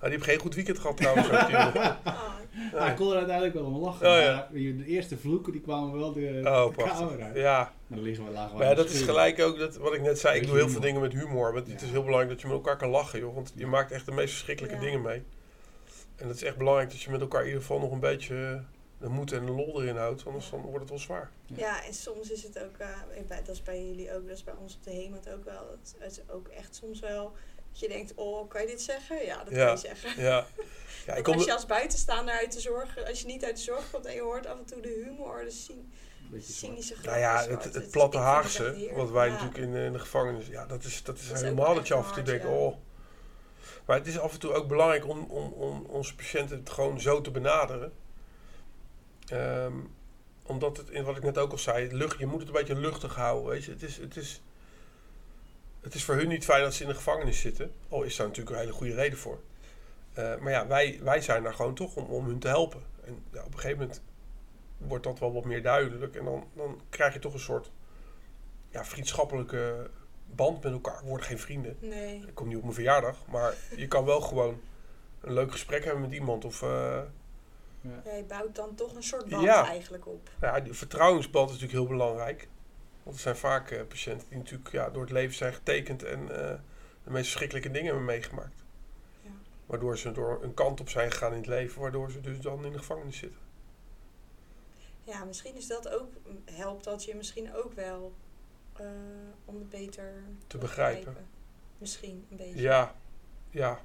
Nou, die heeft geen goed weekend gehad trouwens. ook, die jongen. Ah, Ja, ik kon er uiteindelijk wel om lachen. Oh, ja. maar eh, de eerste vloeken die kwamen wel de, Oh, de kamer prachtig. uit. Ja. Maar dan liggen we laag Maar ja, dat is gelijk ook dat, wat ik net zei. Ik Beetje doe heel veel humor. dingen met humor. Want het Ja. is heel belangrijk dat je met elkaar kan lachen, joh. Want je maakt echt de meest verschrikkelijke Ja. dingen mee. En het is echt belangrijk dat je met elkaar in ieder geval nog een beetje eh, de moed en de lol erin houdt. Anders dan wordt het wel zwaar. ja, en soms is het ook, eh, bij- dat is bij jullie ook, dat is bij ons op de Hemat ook wel. Het, het is ook echt soms wel dat je denkt, oh, kan je dit zeggen? Ja, dat Ja. kan je zeggen. Ja. Ja, ik Want kom als je als buitenstaander uit de zorg, als je niet uit de zorg komt en je hoort af en toe de humor, de cyn- cynische nou grappen. ja, zo, het, het is- platte ik vind het echt Haagse, heerlijk. wat wij Ja. natuurlijk in, eh, in de gevangenis... Ja, dat is, dat is, Dat is ook helemaal dat echt je af en toe hard, denkt, ja. oh... Maar het is af en toe ook belangrijk om, om, om onze patiënten het gewoon zo te benaderen. Ehm, omdat het, in wat ik net ook al zei, lucht, je moet het een beetje luchtig houden. Weet je? Het, is, het, is, het is voor hun niet fijn dat ze in de gevangenis zitten. Al is daar natuurlijk een hele goede reden voor. Eh, maar ja, wij, wij zijn daar gewoon toch om, om hun te helpen. En ja, op een gegeven moment wordt dat wel wat meer duidelijk. En dan, dan krijg je toch een soort ja, vriendschappelijke band met elkaar. We worden geen vrienden. Nee, Ik kom niet op mijn verjaardag. Maar je kan wel gewoon een leuk gesprek hebben met iemand. Of eh, jij bouwt dan toch een soort band Ja. eigenlijk op. nou ja, die vertrouwensband is natuurlijk heel belangrijk. Want er zijn vaak eh, patiënten die natuurlijk ja, door het leven zijn getekend en eh, de meest verschrikkelijke dingen hebben meegemaakt. Ja. Waardoor ze door een kant op zijn gegaan in het leven, waardoor ze dus dan in de gevangenis zitten. Ja, misschien is dat ook, helpt dat je misschien ook wel eh, om het beter Te begrijpen. Misschien een beetje. Ja, ja.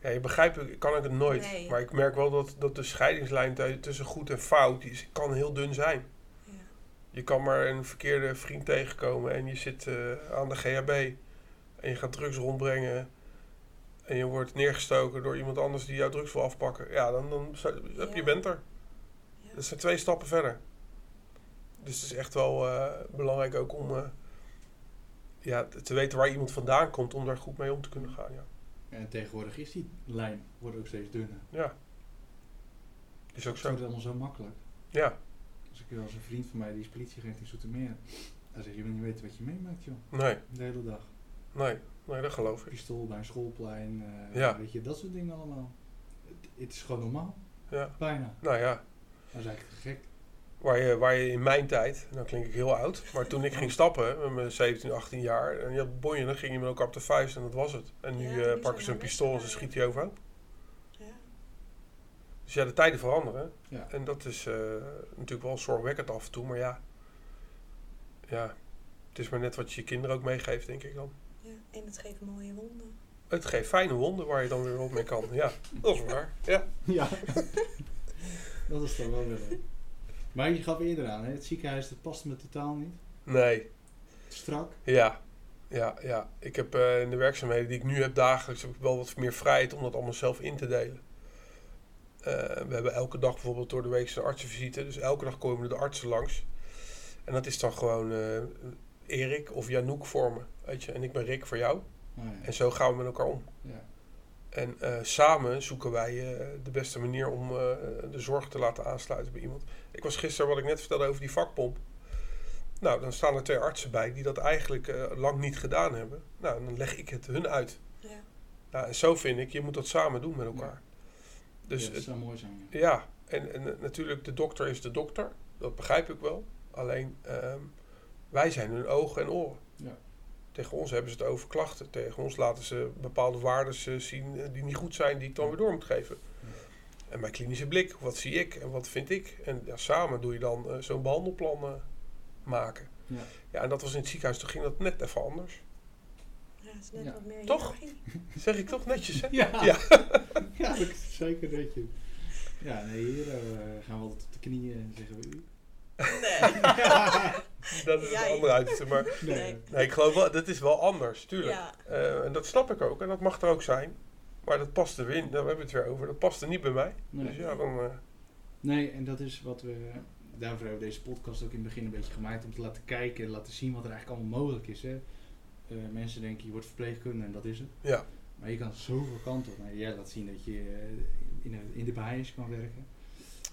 Ja, je begrijpt, ik kan ik het nooit. Nee. Maar ik merk wel dat, dat de scheidingslijn t- tussen goed en fout die is, kan heel dun zijn. Ja. Je kan maar een verkeerde vriend tegenkomen en je zit eh, aan de GHB en je gaat drugs rondbrengen en je wordt neergestoken door iemand anders die jouw drugs wil afpakken. Ja, dan, dan zou- hup, Ja. je bent er. Ja. Dat zijn twee stappen verder. Dus het is echt wel eh, belangrijk ook om eh, ja, te weten waar iemand vandaan komt om daar goed mee om te kunnen gaan. Ja. En tegenwoordig is die lijn wordt ook steeds dunner. Ja. Is ook Het zo. wordt allemaal zo makkelijk. Ja. Dus ik heb wel eens een vriend van mij, die is politieagent in Zoetermeer. Hij zegt, je wil niet weten wat je meemaakt, joh. Nee, De hele dag. nee, nee, dat geloof ik. Pistool bij een schoolplein. eh, Ja. Weet je, dat soort dingen allemaal. Het, het is gewoon normaal. Ja. Bijna. Nou ja, Dat is eigenlijk te gek. waar je, waar je in mijn tijd, nou klink ik heel oud, maar toen ik ging stappen met mijn 17, 18 jaar, en je had bonje, dan ging je met elkaar op de vuist en dat was het. En nu Ja, eh, die zijn pakken ze een wel pistool en ze lekker, schieten je overhoop. Ja. Dus ja, de tijden veranderen. Ja. En dat is eh, natuurlijk wel zorgwekkend af en toe, maar ja. Ja, het is maar net wat je je kinderen ook meegeeft, denk ik dan. Ja, en het geeft mooie wonden. Het geeft fijne wonden waar je dan weer op mee kan. Ja, dat is waar. Ja. Ja. dat is toch wel weer leuk. Maar je gaf eerder aan, hè? het ziekenhuis dat past me totaal niet. Nee, Strak. ja. Ja, ja. Ik heb eh, in de werkzaamheden die ik nu heb dagelijks heb ik wel wat meer vrijheid om dat allemaal zelf in te delen. Eh, we hebben elke dag bijvoorbeeld door de week een artsenvisite. Dus elke dag komen de artsen langs. En dat is dan gewoon eh, Erik of Janoek voor me. Weet je? En ik ben Rick voor jou. Oh, ja. En zo gaan we met elkaar om. Ja. En eh, samen zoeken wij eh, de beste manier om eh, de zorg te laten aansluiten bij iemand. Ik was gisteren, wat ik net vertelde over die vakpomp. Nou, dan staan er twee artsen bij die dat eigenlijk eh, lang niet gedaan hebben. Nou, en dan leg ik het hun uit. Ja. Nou, en zo vind ik, je moet dat samen doen met elkaar. Dus Ja, dat het- zou mooi zijn. Ja. ja, en, en eh, natuurlijk, de dokter is de dokter. Dat begrijp ik wel. Alleen, ehm, wij zijn hun ogen en oren. Ja. Tegen ons hebben ze het over klachten. Tegen ons laten ze bepaalde waarden zien eh, die niet goed zijn, die ik dan weer door moet geven. Ja. En mijn klinische blik, wat zie ik en wat vind ik? En ja, samen doe je dan eh, zo'n behandelplan eh, maken. Ja. ja, en dat was in het ziekenhuis, toen ging dat net even anders. Ja, het is net Ja. wat meer Toch? hiërarchie. Zeg ik toch netjes, hè? Ja. Ja. Ja, dat is zeker dat je. Ja, nee, hier eh, gaan we altijd op de knieën en zeggen we u. Nee. Dat is Ja, een andere uiterste. Maar Nee. nee, ik geloof wel, dat is wel anders, tuurlijk. Ja. Eh, en dat snap ik ook en dat mag er ook zijn. Maar dat past er weer in, daar hebben we het weer over. Dat past er niet bij mij. Dus Nee. ja, dan. eh, nee, en dat is wat we. Daarvoor hebben we deze podcast ook in het begin een beetje gemaakt. Om te laten kijken en laten zien wat er eigenlijk allemaal mogelijk is. Hè. Eh, mensen denken je wordt verpleegkundige en dat is het. Ja. Maar je kan zoveel kanten op. Nou, jij laat zien dat je eh, in, de- in de behaaiers kan werken.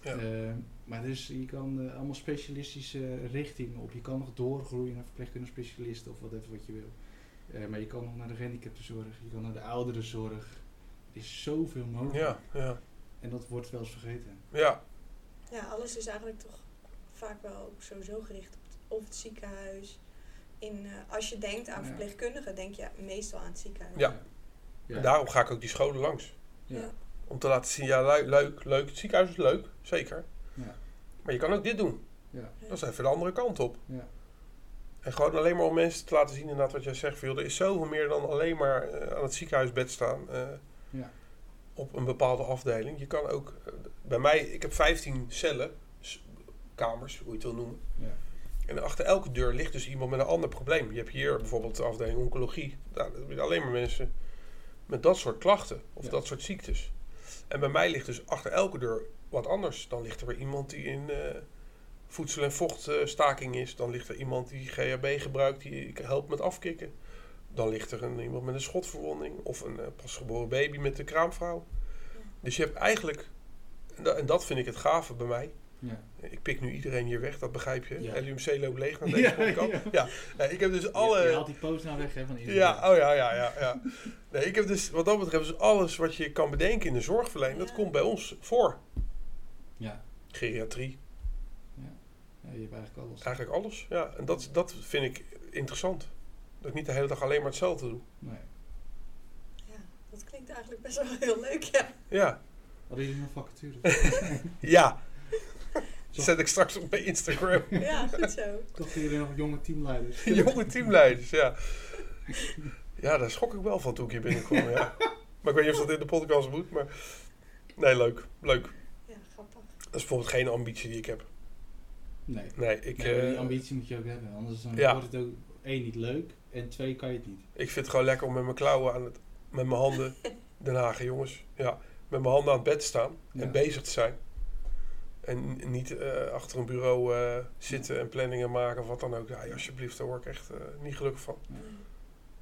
Ja. Eh, maar dus je kan eh, allemaal specialistische eh, richtingen op. Je kan nog doorgroeien naar verpleegkundige specialist of wat even wat je wil. Eh, maar je kan nog naar de gehandicaptenzorg, je kan naar de ouderenzorg. Er is zoveel mogelijk. ja, ja, En dat wordt wel eens vergeten. ja, ja, alles is eigenlijk toch vaak wel ook sowieso gericht op het, of het ziekenhuis. In, eh, als je denkt aan Ja. verpleegkundigen, denk je meestal aan het ziekenhuis. Ja. Ja. En daarom ga ik ook die scholen langs. Ja. Om te laten zien, ja, lui- leuk, leuk. Het ziekenhuis is leuk, zeker. Ja. Maar je kan ook dit doen. Ja. Dat is even de andere kant op. Ja. En gewoon alleen maar om mensen te laten zien, inderdaad, wat jij zegt. Van, joh, er is zoveel meer dan alleen maar eh, aan het ziekenhuisbed staan. eh, Ja. Op een bepaalde afdeling. Je kan ook. eh, bij mij, ik heb 15 cellen, s- kamers, hoe je het wil noemen. Ja. En achter elke deur ligt dus iemand met een ander probleem. Je hebt hier bijvoorbeeld de afdeling oncologie. Nou, dan heb je alleen maar mensen met dat soort klachten of Ja. dat soort ziektes. En bij mij ligt dus achter elke deur wat anders. Dan ligt er weer iemand die in eh, voedsel- en vochtstaking is. Dan ligt er iemand die GHB gebruikt, die helpt met afkicken. Dan ligt er een, iemand met een schotverwonding of een eh, pasgeboren baby met de kraamvrouw. Dus je hebt eigenlijk, en da- en dat vind ik het gave bij mij, Ja. ik pik nu iedereen hier weg, dat begrijp je. Ja. LUMC loopt leeg naar deze podcast. ja. Nee, ik heb dus Je, je alle... haalt die post nou weg hè, van Instagram. Ja, oh ja, ja, ja. ja. Nee, ik heb dus wat dat betreft dus alles wat je kan bedenken in de zorgverlening, dat Ja. komt bij ons voor. Ja. Geriatrie, Ja, je hebt eigenlijk alles. eigenlijk alles. Ja, en dat, dat vind ik interessant. Dat ik niet de hele dag alleen maar hetzelfde doe. Nee. Ja, dat klinkt eigenlijk best wel heel leuk, ja. Ja, Hadden jullie nog vacature? ja. Zet ik straks op mijn Instagram. Ja, goed zo. Toch jullie nog jonge teamleiders? Jonge teamleiders, ja. Ja, daar schrok ik wel van toen ik hier binnenkwam, ja. Maar ik weet niet of dat in de podcast moet, maar... Nee, leuk, leuk. Ja, grappig. Dat is bijvoorbeeld geen ambitie die ik heb. Nee. Nee, ik, Nee, maar die eh, ambitie moet je ook hebben, anders dan Ja. wordt het ook één niet leuk en twee kan je het niet. ik vind het gewoon lekker om met mijn klauwen aan het... Met mijn handen... Den Haag, jongens. Ja. Met mijn handen aan het bed te staan. Ja. En bezig te zijn. En n- niet eh, achter een bureau eh, zitten en planningen maken of wat dan ook. Ja, alsjeblieft, daar word ik echt eh, niet gelukkig van.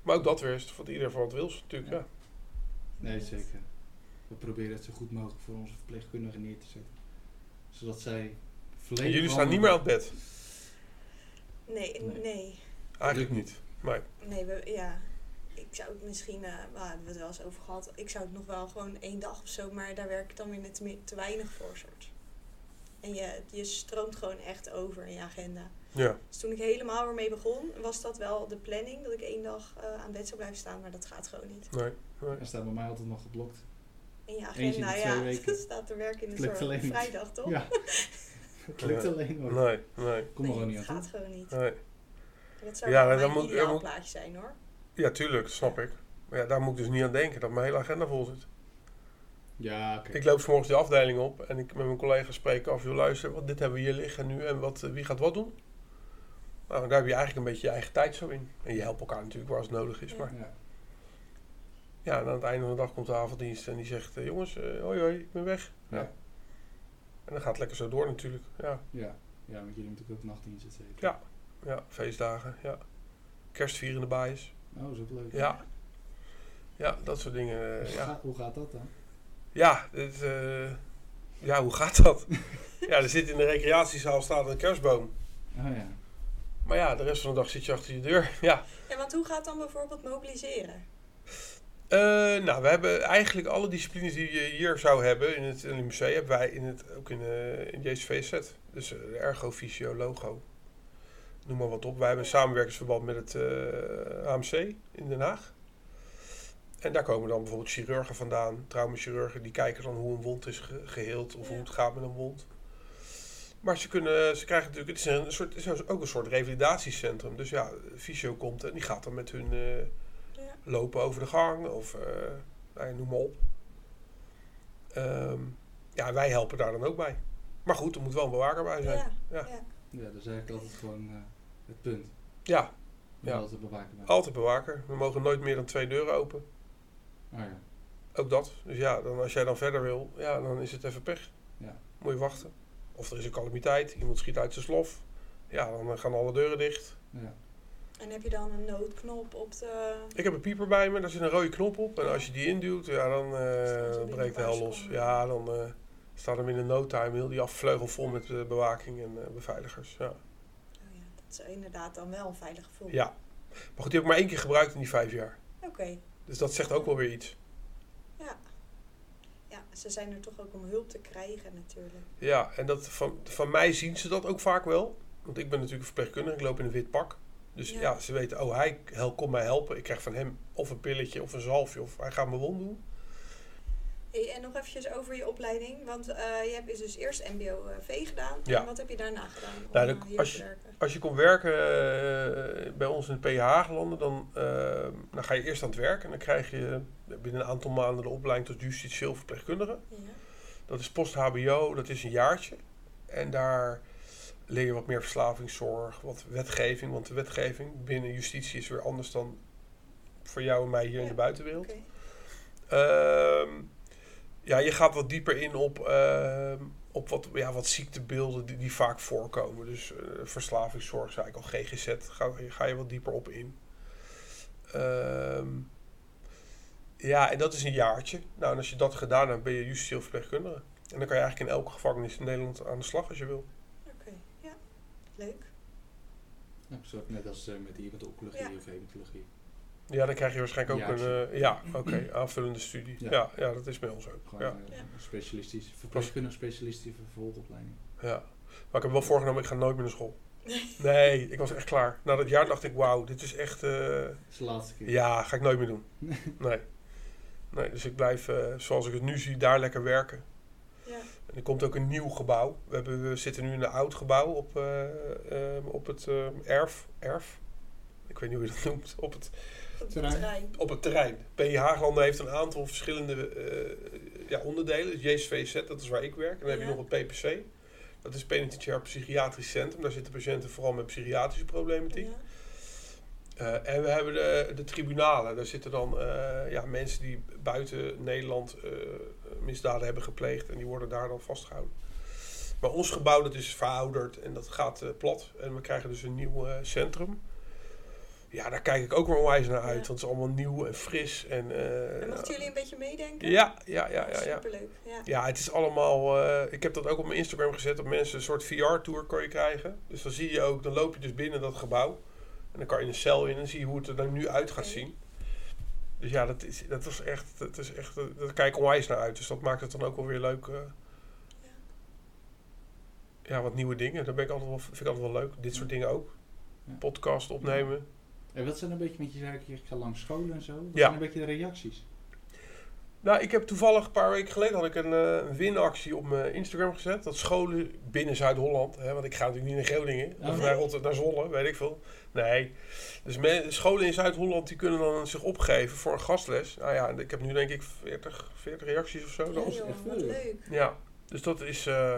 Maar ook dat weer is voor ieder van wat wils natuurlijk. Ja. Ja. Nee, zeker. We proberen het zo goed mogelijk voor onze verpleegkundigen neer te zetten. Zodat zij En volledig... jullie staan niet meer aan het bed. Nee, Nee. nee. Eigenlijk niet. Nee, we, ja. Ik, zou het misschien, eh waar hebben we het wel eens over gehad, ik zou het nog wel gewoon één dag of zo, maar daar werk ik dan weer net te, mi- te weinig voor, soort. En je, je stroomt gewoon echt over in je agenda. Ja. Dus toen ik helemaal ermee begon, was dat wel de planning dat ik één dag eh, aan bed zou blijven staan, maar dat gaat gewoon niet. Nee. nee. Hij staat bij mij altijd nog geblokt. In je Eentje in de agenda, twee ja, weken. dat staat er werk in de Klikt zorg. alleen niet. Vrijdag toch? Ja. Het lukt Ja. alleen maar. Nee, nee, Kom er Nee, gewoon niet aan het toe. gaat gewoon niet. nee. Dat zou Ja, ja, dan mijn moet- dan ideaal moet- plaatje zijn hoor. Ja, tuurlijk, dat snap ik. Maar ja, daar moet ik dus niet aan denken dat mijn hele agenda vol zit. Ja, oké. Ik loop vanmorgen de afdeling op en ik met mijn collega's spreek af, joh, luister, wat, dit hebben we hier liggen nu en wat, eh, wie gaat wat doen? Nou, daar heb je eigenlijk een beetje je eigen tijd zo in. En je helpt elkaar natuurlijk waar het nodig is. Ja. Maar Ja. ja, en aan het einde van de dag komt de avonddienst en die zegt, eh, jongens, eh, hoi hoi, ik ben weg. Ja. En dan gaat het lekker zo door natuurlijk. Ja, Ja. ja, want jullie moeten ook nachtdienst, et cetera. Ja. ja feestdagen, ja. Kerstvierende baas. Oh, is ook leuk. Ja. Ja, dat soort dingen. Hoe, eh, ja. ga- hoe gaat dat dan? Ja, dit, eh, ja, hoe gaat dat? ja, er zit in de recreatiezaal staat een kerstboom. Oh ja. Maar ja, de rest van de dag zit je achter je deur. Ja. Ja, want hoe gaat dan bijvoorbeeld mobiliseren? Eh, nou, we hebben eigenlijk alle disciplines die je hier zou hebben in het LMC, hebben wij in het, ook in, eh in JCVZ. Dus eh, ergo, fysio, logo. Noem maar wat op. Wij hebben een samenwerkingsverband met het eh, AMC in Den Haag. En daar komen dan bijvoorbeeld chirurgen vandaan, traumachirurgen, die kijken dan hoe een wond is ge- geheeld of Ja. hoe het gaat met een wond. Maar ze, kunnen, ze krijgen natuurlijk, het is, een soort, het is ook een soort revalidatiecentrum. Dus ja, fysio komt en die gaat dan met hun eh, Ja. lopen over de gang of eh, nou ja, noem maar op. Ehm, ja, wij helpen daar dan ook bij. Maar goed, er moet wel een bewaker bij zijn. Ja, Ja. ja. Ja, dat is eigenlijk altijd gewoon eh, het punt. Ja, Ja. Ja. Oh. Altijd bewaken bij. altijd bewaker. We mogen nooit meer dan twee deuren open. Oh ja. Ook dat. Dus ja, dan, als jij dan verder wil, ja, dan is het even pech. Ja. Moet je wachten. Of er is een calamiteit, iemand schiet uit zijn slof. Ja, dan eh, gaan alle deuren dicht. Ja. En heb je dan een noodknop op de... Ik heb een pieper bij me, daar zit een rode knop op. En als je die induwt, ja, dan eh, Staat ze binnen breekt de een paar hel los. seconden. Ja, dan eh, staat hem in de no time heel die afvleugel vol met eh, bewaking en eh, beveiligers. Ja. Oh ja, dat is inderdaad dan wel een veilig gevoel. ja. Maar goed, die heb ik maar één keer gebruikt in die vijf jaar. Oké, Dus dat zegt ook wel weer iets. ja. Ja, ze zijn er toch ook om hulp te krijgen natuurlijk. Ja, en dat van, van mij zien ze dat ook vaak wel. Want ik ben natuurlijk een verpleegkundige, ik loop in een wit pak. Dus Ja. ja, ze weten, oh hij hel- komt mij helpen. Ik krijg van hem of een pilletje of een zalfje of hij gaat mijn wond doen. Hey, en nog eventjes over je opleiding, want eh, je hebt dus eerst MBO-V gedaan. Ja. En wat heb je daarna gedaan om Nou, eh, dan- hier als te je- werken? Als je komt werken eh, bij ons in de PH landen, dan, eh, dan ga je eerst aan het werk. En dan krijg je binnen een aantal maanden de opleiding tot justitieel verpleegkundige. Ja. Dat is post-HBO, dat is een jaartje. En daar leer je wat meer verslavingszorg, wat wetgeving. Want de wetgeving binnen justitie is weer anders dan voor jou en mij hier in Ja, de buitenwereld. Oké. Ehm, ja, je gaat wat dieper in op, ehm, op wat, ja, wat ziektebeelden die, die vaak voorkomen. Dus eh, verslavingszorg, zei ik al, GGZ, ga, ga je wat dieper op in. Ehm, ja, en dat is een jaartje. Nou, en als je dat gedaan hebt, ben je justitieel verpleegkundige. En dan kan je eigenlijk in elke gevangenis in Nederland aan de slag als je wil. Oké, ja. Leuk. Nou, zo, net als eh, met die hematologie Ja. of hematologie. Ja, dan krijg je waarschijnlijk ook Jaartje. een eh, ja, oké, aanvullende studie. Ja. Ja. Ja, dat is bij ons ook. Gewoon Ja, ja. Ja. specialistisch. Verpleegkundig specialistische vervolgopleiding. ja. Maar ik heb wel voorgenomen, ik ga nooit meer naar school. Nee, ik was echt klaar. Na dat jaar dacht ik, wauw, dit is echt... eh, Dat is de laatste keer. ja, ga ik nooit meer doen. Nee. Nee, dus ik blijf, eh, zoals ik het nu zie, daar lekker werken. Ja. En er komt ook een nieuw gebouw. We, hebben, we zitten nu in een oud gebouw op, eh, eh, op het eh, erf. Erf? Ik weet niet hoe je dat noemt. Op het, Op de Terrein. trein. op het terrein. PJ Haaglanden heeft een aantal verschillende eh, ja, onderdelen. Dus JSVZ, dat is waar ik werk. En dan heb Ja. je nog het PPC. Dat is Penitentiair Psychiatrisch Centrum. Daar zitten patiënten vooral met psychiatrische problematiek. Ja. Eh, en we hebben de, de tribunalen. Daar zitten dan eh, ja, mensen die buiten Nederland eh, misdaden hebben gepleegd. En die worden daar dan vastgehouden. Maar ons gebouw dat is verouderd en dat gaat eh, plat. En we krijgen dus een nieuw eh, centrum. Ja, daar kijk ik ook wel onwijs naar uit. Ja. Want het is allemaal nieuw en fris. En, eh, En mochten jullie een beetje meedenken? Ja, ja, ja, ja. ja. Superleuk, ja. Ja, het is allemaal. eh, ik heb dat ook op mijn Instagram gezet. Dat mensen een soort VR-tour kan je krijgen. Dus dan zie je ook, dan loop je dus binnen dat gebouw. En dan kan je een cel in en zie je hoe het er dan nu uit gaat Oké. zien. Dus ja, dat is, dat is echt, dat is echt, eh, daar kijk ik onwijs naar uit. Dus dat maakt het dan ook wel weer leuk. eh. ja, wat nieuwe dingen. Dat ben ik altijd wel, vind ik altijd wel leuk. Dit soort dingen ook. Ja. Podcast opnemen. En wat zijn een beetje met je zei, ik ga langs scholen en zo. Wat Ja. zijn een beetje de reacties? Nou, ik heb toevallig een paar weken geleden had ik een eh, winactie op mijn Instagram gezet. Dat scholen binnen Zuid-Holland, hè, want ik ga natuurlijk niet naar Groningen Oh, of nee. naar, Rotterdam, naar Zwolle, weet ik veel. Nee, dus me- scholen in Zuid-Holland die kunnen dan zich opgeven voor een gastles. Nou ja, ik heb nu denk ik 40, 40 reacties of zo. Ja, Dat was- joh, echt wat leuk. leuk. Ja, dus dat is eh,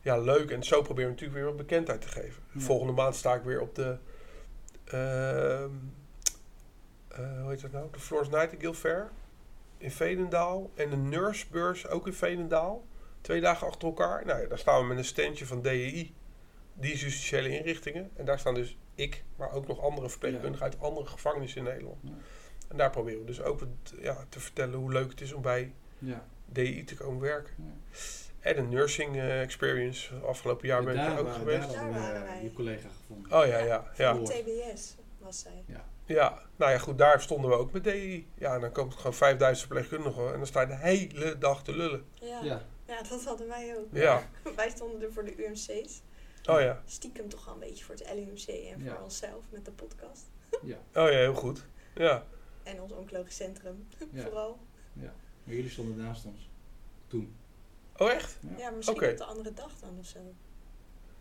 ja, leuk. En zo proberen we natuurlijk weer wat bekendheid te geven. Ja. Volgende maand sta ik weer op de... ehm, eh, hoe heet dat nou? De Florence Nightingale Fair in Veenendaal. En de Nursebeurs ook in Veenendaal. Twee dagen achter elkaar. Nou ja, daar staan we met een standje van DEI. Die is justitiële inrichtingen. En daar staan dus ik, maar ook nog andere verpleegkundigen uit andere gevangenissen in Nederland. Ja. En daar proberen we dus ook het, ja, te vertellen hoe leuk het is om bij Ja. DEI te komen werken. ja. En een nursing eh, experience. Afgelopen jaar En ben ik daar ook waren- geweest. Daar hadden we, Daar waren eh, wij. je collega gevonden. Oh ja, ja, ja. Ja. TBS was zij. Ja, nou ja, goed, daar stonden we ook met DI. Ja, en dan komt gewoon 5000 verpleegkundigen en dan sta je de hele dag te lullen. Ja. Ja. Ja. dat hadden wij ook. Ja, Wij stonden er voor de UMC's. oh ja, Stiekem toch al een beetje voor het LUMC en voor Ja. onszelf met de podcast. oh ja, heel goed. Ja, En ons oncologisch centrum Ja. vooral. Maar jullie stonden naast ons. oh echt? Ja, maar misschien Oké. op de andere dag dan of zo.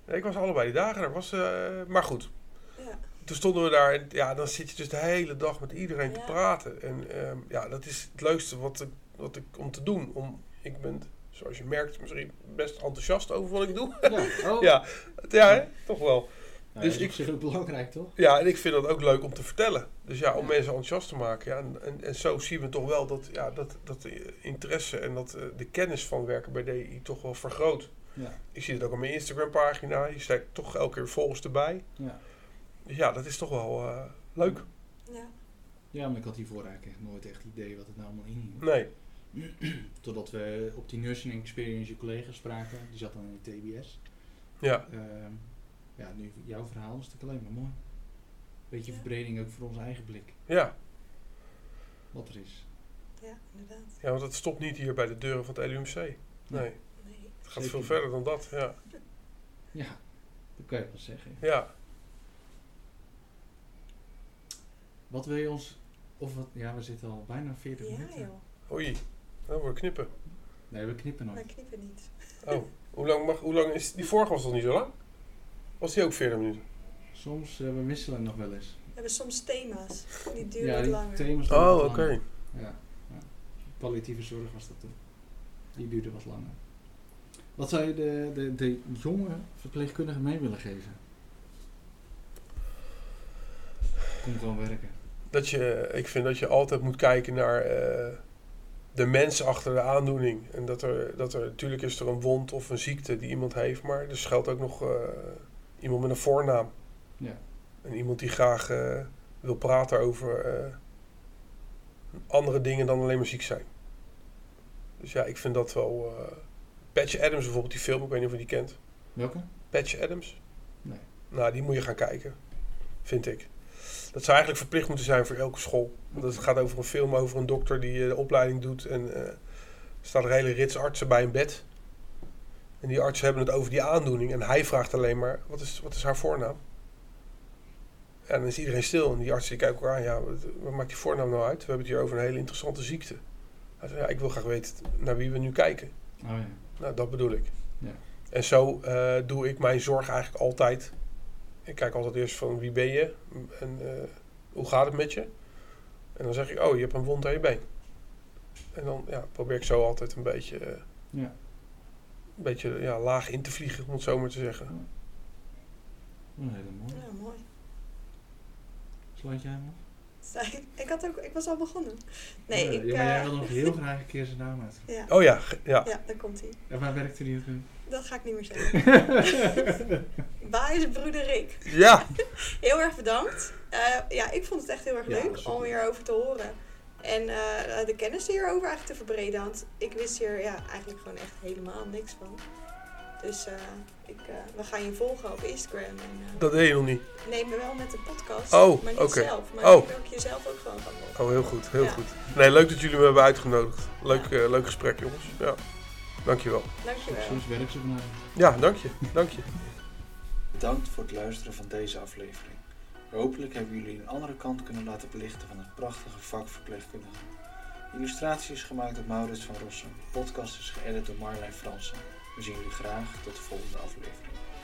Nee, ik was allebei die dagen, daar was, eh, maar goed. Ja. Toen stonden we daar en ja, dan zit je dus de hele dag met iedereen te Ja. praten. En ehm, ja, dat is het leukste wat ik, wat ik om te doen. Om, ik ben, zoals je merkt, misschien best enthousiast over wat ik doe. Ja. Oh. Ja. Ja, hè? toch wel. Nou, dus Dus ik ik- zeg ook belangrijk toch? Ja, en ik vind dat ook leuk om te vertellen. Dus ja, om Ja. mensen enthousiast te maken. Ja, en, en, en zo zien we toch wel dat, ja, dat, dat de interesse en dat eh, de kennis van werken bij DI toch wel vergroot. Ja. Ik zie het ook op mijn Instagram pagina. Je steekt toch elke keer volgers erbij. Ja. Dus ja, dat is toch wel eh, leuk. Ja. Ja, maar ik had hiervoor eigenlijk echt nooit echt idee wat het nou allemaal inhield. Nee. Totdat we op die nursing experience je collega spraken. Die zat dan in de TBS. Ja. Ehm, ja, nu jouw verhaal is natuurlijk alleen maar mooi. Beetje Ja. verbreding ook voor onze eigen blik. Ja. Wat er is. ja, inderdaad. ja, want het stopt niet hier bij de deuren van het LUMC. Nee, Nee. het gaat Zeker veel niet. verder dan dat. Ja. Ja, dat kan je wel zeggen. ja. Wat wil je ons... Of wat, ja, we zitten al bijna 40 Ja minuten. joh, Oei, dan wordt knippen. Nee, we knippen nog. wij knippen niet. Oh, hoe lang, mag, hoe lang is... Die vorige was toch niet zo lang? Was die ook 40 minuten? Soms, eh, we wisselen nog wel eens. We hebben soms thema's. Die duren ja, wat die langer. thema's duren Oh, wat oké. langer. Ja, ja. Palliatieve zorg was dat toen. Die duurde wat langer. Wat zou je de, de, de jonge verpleegkundige mee willen geven? Kom gewoon werken. Dat je, ik vind dat je altijd moet kijken naar eh, de mens achter de aandoening. En dat er, dat er, natuurlijk is er een wond of een ziekte die iemand heeft, maar er schuilt ook nog eh, iemand met een voornaam. Ja. En iemand die graag eh, wil praten over eh, andere dingen dan alleen maar ziek zijn. Dus ja, ik vind dat wel. eh Patch Adams bijvoorbeeld, die film, ik weet niet of je die kent. Welke? Patch Adams? Nee. Nou, die moet je gaan kijken, vind ik. Dat zou eigenlijk verplicht moeten zijn voor elke school. Want het gaat over een film over een dokter die eh, de opleiding doet. En eh, er staat een hele rits artsen bij een bed. En die artsen hebben het over die aandoening. En hij vraagt alleen maar, wat is, wat is haar voornaam? En dan is iedereen stil. En die artsen die kijken elkaar aan, ja, wat, wat maakt die voornaam nou uit? We hebben het hier over een hele interessante ziekte. Hij zegt, ja, ik wil graag weten naar wie we nu kijken. Oh ja. Nou, dat bedoel ik. Ja. En zo eh, doe ik mijn zorg eigenlijk altijd. Ik kijk altijd eerst van wie ben je en eh, hoe gaat het met je. En dan zeg ik, oh, je hebt een wond aan je been. En dan ja, probeer ik zo altijd een beetje, eh, Ja. een beetje ja, laag in te vliegen, om het zo maar te zeggen. Een hele mooie. Ja, mooi. Sluit jij hem af? Zij- Ik, had ook, ik was al begonnen. Nee, ik... ja, maar jij eh, wil nog heel graag een keer zijn naam uit. ja. Oh ja, ge- ja. ja, daar komt hij. En waar werkte die op in? Dat ga ik niet meer zeggen. Waar is broeder Rick? Ja, Heel erg bedankt. Eh, ja, ik vond het echt heel erg Ja, dat leuk is om super. hierover te horen. En eh, de kennis hierover eigenlijk te verbreden. Want ik wist hier ja, eigenlijk gewoon echt helemaal niks van. Dus eh, ik, eh, we gaan je volgen op Instagram. En, eh, dat deed je nog niet. neem me wel met de podcast. Oh, maar niet oké. zelf. Maar Oh. ik wil ook jezelf ook gewoon gaan volgen. Oh, heel goed, heel Ja. goed. Nee, leuk dat jullie me hebben uitgenodigd. Leuk, eh, leuk gesprek, jongens. Ja, dankjewel. Dankjewel. Soms werkt ze vanavond. Ja, dank je, dank je. Bedankt voor het luisteren van deze aflevering. Hopelijk hebben jullie een andere kant kunnen laten belichten van het prachtige vak verpleegkundige. De illustratie is gemaakt door Maurits van Rossum. De podcast is geëdit door Marlijn Fransen. We zien jullie graag tot de volgende aflevering.